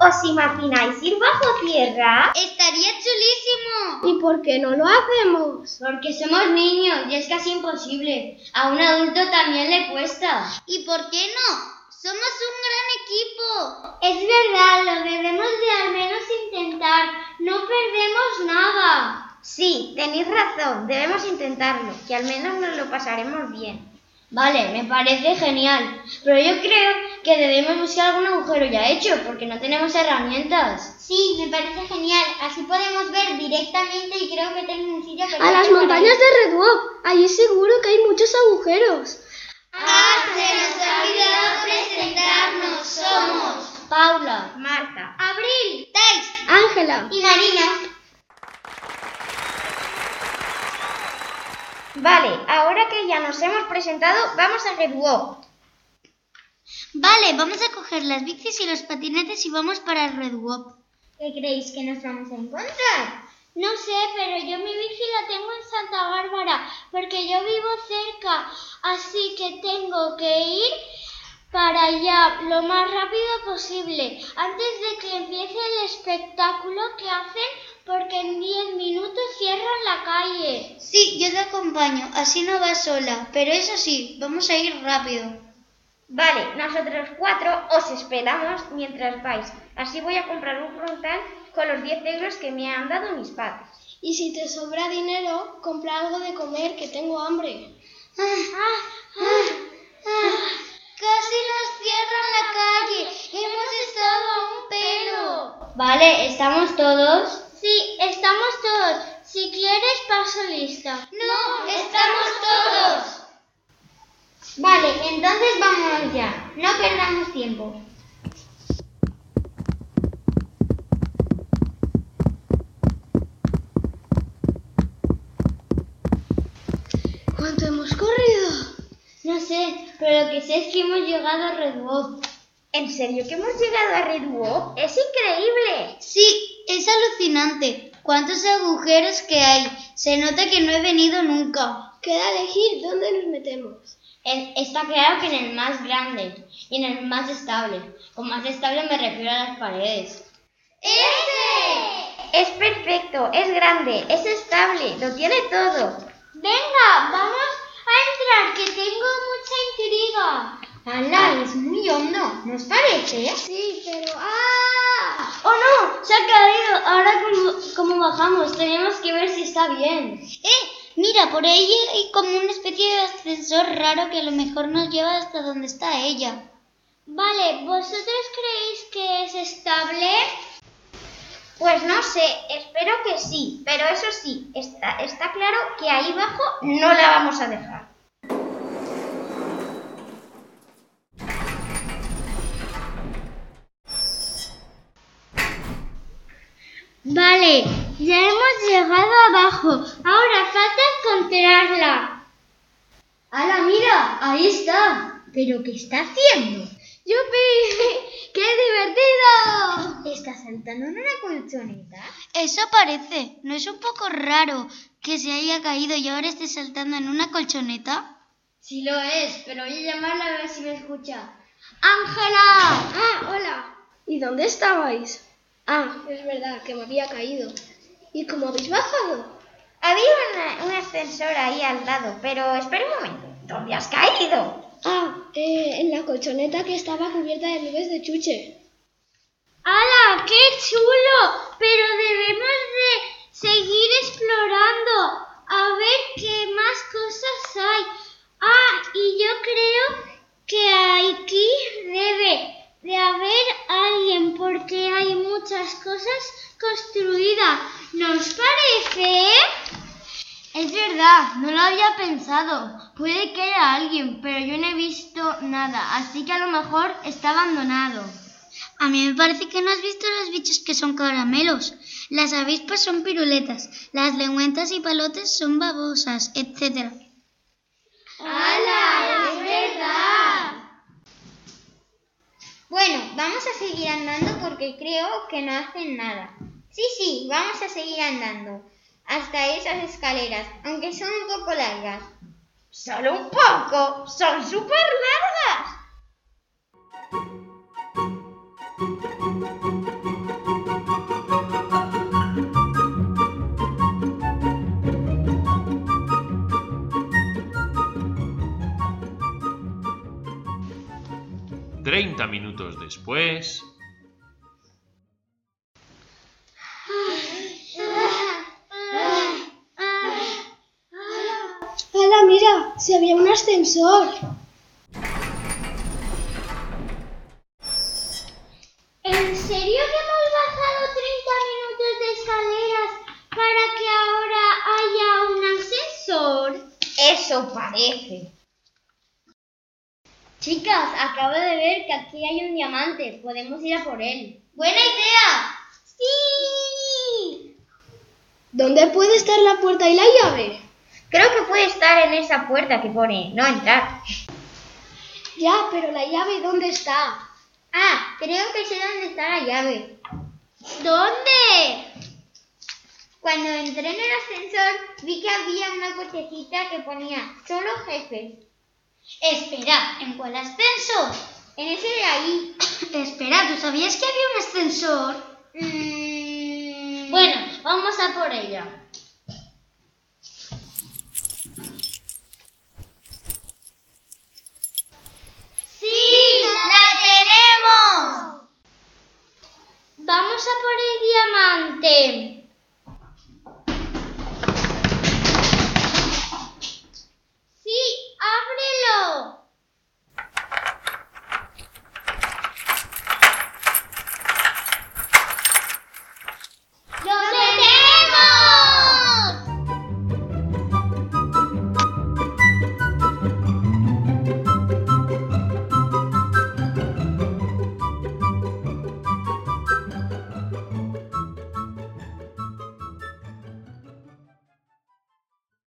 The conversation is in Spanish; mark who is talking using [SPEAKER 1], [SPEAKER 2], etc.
[SPEAKER 1] ¿Os imagináis ir bajo tierra?
[SPEAKER 2] Estaría chulísimo.
[SPEAKER 3] ¿Y por qué no lo hacemos?
[SPEAKER 4] Porque somos niños y es casi imposible. A un adulto también le cuesta.
[SPEAKER 2] ¿Y por qué no? Somos un gran equipo.
[SPEAKER 4] Es verdad, lo debemos de al menos intentar. No perdemos nada.
[SPEAKER 1] Sí, tenéis razón. Debemos intentarlo, que al menos nos lo pasaremos bien.
[SPEAKER 4] Vale, me parece genial, pero yo creo que debemos buscar algún agujero ya hecho porque no tenemos herramientas.
[SPEAKER 2] Sí, me parece genial, así podemos ver directamente y creo que tengo un sitio
[SPEAKER 3] A las montañas de Red Rock, allí seguro que hay muchos agujeros.
[SPEAKER 2] ¡Ah, se nos ha olvidado presentarnos! Somos
[SPEAKER 4] Paula,
[SPEAKER 1] Marta.
[SPEAKER 2] Abril, Tais
[SPEAKER 3] Ángela,
[SPEAKER 2] y Marina.
[SPEAKER 1] Vale, ahora que ya nos hemos presentado, vamos a Red Walk.
[SPEAKER 2] Vale, vamos a coger las bicis y los patinetes y vamos para Red Wop.
[SPEAKER 4] ¿qué creéis que nos vamos a encontrar? No sé, pero yo mi bici la tengo en Santa Bárbara porque yo vivo cerca, así que tengo que ir para allá lo más rápido posible, antes de que empiece el espectáculo que hacen porque en 10 minutos cierran la calle.
[SPEAKER 2] Sí, yo te acompaño, así no vas sola, pero eso sí, vamos a ir rápido.
[SPEAKER 1] Vale, nosotros cuatro os esperamos mientras vais. Así voy a comprar un frontal con los 10 euros que me han dado mis padres.
[SPEAKER 3] y si te sobra dinero, compra algo de comer, que tengo hambre.
[SPEAKER 2] Ah, Casi nos cierran la calle, hemos estado a un pelo.
[SPEAKER 4] vale, ¿estamos todos?
[SPEAKER 2] Sí, estamos todos. Si quieres, paso lista. No, estamos todos. Vale, entonces vámonos ya. No perdamos tiempo.
[SPEAKER 3] ¿Cuánto hemos corrido?
[SPEAKER 4] No sé, pero lo que sé es que hemos llegado a Red Wolf.
[SPEAKER 1] ¿En serio que hemos llegado a Red Walk? ¡Es increíble!
[SPEAKER 2] Sí, es alucinante. ¿Cuántos agujeros que hay? Se nota que no he venido nunca.
[SPEAKER 3] Queda elegir dónde nos metemos.
[SPEAKER 4] En- Está claro que en el más grande y en el más estable. Con más estable me refiero a las paredes.
[SPEAKER 2] ¡Ese!
[SPEAKER 1] Es perfecto, es grande, es estable, lo tiene todo.
[SPEAKER 2] Venga, vamos a entrar, que tengo mucha intriga.
[SPEAKER 4] ¡Hala! Es muy hondo, ¿nos
[SPEAKER 2] este, ¿eh?
[SPEAKER 4] parece?
[SPEAKER 3] Sí, pero ¡ah!
[SPEAKER 4] ¡Oh no! ¡Se ha caído! Ahora como, bajamos, tenemos que ver si está bien.
[SPEAKER 2] Eh, mira, por ahí hay como una especie de ascensor raro que a lo mejor nos lleva hasta donde está ella.
[SPEAKER 4] Vale, ¿vosotros creéis que es estable?
[SPEAKER 1] Pues no sé, espero que sí, pero eso sí, está, está claro que ahí abajo no la vamos a dejar.
[SPEAKER 4] Vale, ya hemos llegado abajo. Ahora falta encontrarla. ¡Hala, mira! Ahí está. ¿Pero qué está haciendo?
[SPEAKER 3] ¡Yupi! ¡Qué divertido!
[SPEAKER 4] ¿Está saltando en una colchoneta?
[SPEAKER 2] Eso parece. ¿No es un poco raro que se haya caído y ahora esté saltando en una colchoneta?
[SPEAKER 4] Sí lo es, pero voy a llamarla a ver si me escucha.
[SPEAKER 2] ¡Ángela!
[SPEAKER 3] Ah, hola. ¿Y dónde estabais? Ah, es verdad que me había caído. ¿Y cómo habéis bajado?
[SPEAKER 1] Había una- un ascensor ahí al lado, pero espera un momento, ¿dónde has caído?
[SPEAKER 3] Ah, eh, en la colchoneta que estaba cubierta de nubes de chuche.
[SPEAKER 4] ¡Hala! ¡Qué chulo! Pero debemos de seguir explorando a ver qué más cosas hay. Ah, y yo creo que aquí debe de haber alguien porque hay muchas cosas construidas. ¿Nos parece? Es verdad, no lo había pensado. Puede que haya alguien, pero yo no he visto nada, así que a lo mejor está abandonado.
[SPEAKER 2] A mí me parece que no has visto los bichos que son caramelos. Las avispas son piruletas, las lengüentas y palotes son babosas, etc.
[SPEAKER 4] ¡Hala! ¡Es verdad!
[SPEAKER 2] Bueno, vamos a seguir andando porque creo que no hacen nada. Sí, sí, vamos a seguir andando hasta esas escaleras, aunque son un poco largas.
[SPEAKER 1] Solo un poco, son súper largas.
[SPEAKER 5] Treinta minutos después...
[SPEAKER 3] ¡Hala, mira! ¡Se había un ascensor!
[SPEAKER 4] ¿En serio que hemos bajado 30 minutos de escaleras para que ahora haya un ascensor?
[SPEAKER 1] Eso parece.
[SPEAKER 2] Chicas, acabo de ver que aquí hay un diamante. Podemos ir a por él. ¡Buena idea!
[SPEAKER 4] ¡Sí!
[SPEAKER 3] ¿Dónde puede estar la puerta y la llave?
[SPEAKER 1] Creo que puede estar en esa puerta que pone no entrar.
[SPEAKER 3] Ya, pero la llave, ¿dónde está?
[SPEAKER 2] Ah, creo que sé dónde está la llave.
[SPEAKER 4] ¿Dónde?
[SPEAKER 2] Cuando entré en el ascensor, vi que había una cochecita que ponía solo jefes.
[SPEAKER 4] Espera, ¿en cuál ascensor?
[SPEAKER 2] En ese de ahí.
[SPEAKER 4] Espera, ¿tú sabías que había un ascensor?
[SPEAKER 2] Mm,
[SPEAKER 4] Bueno, vamos a por ella.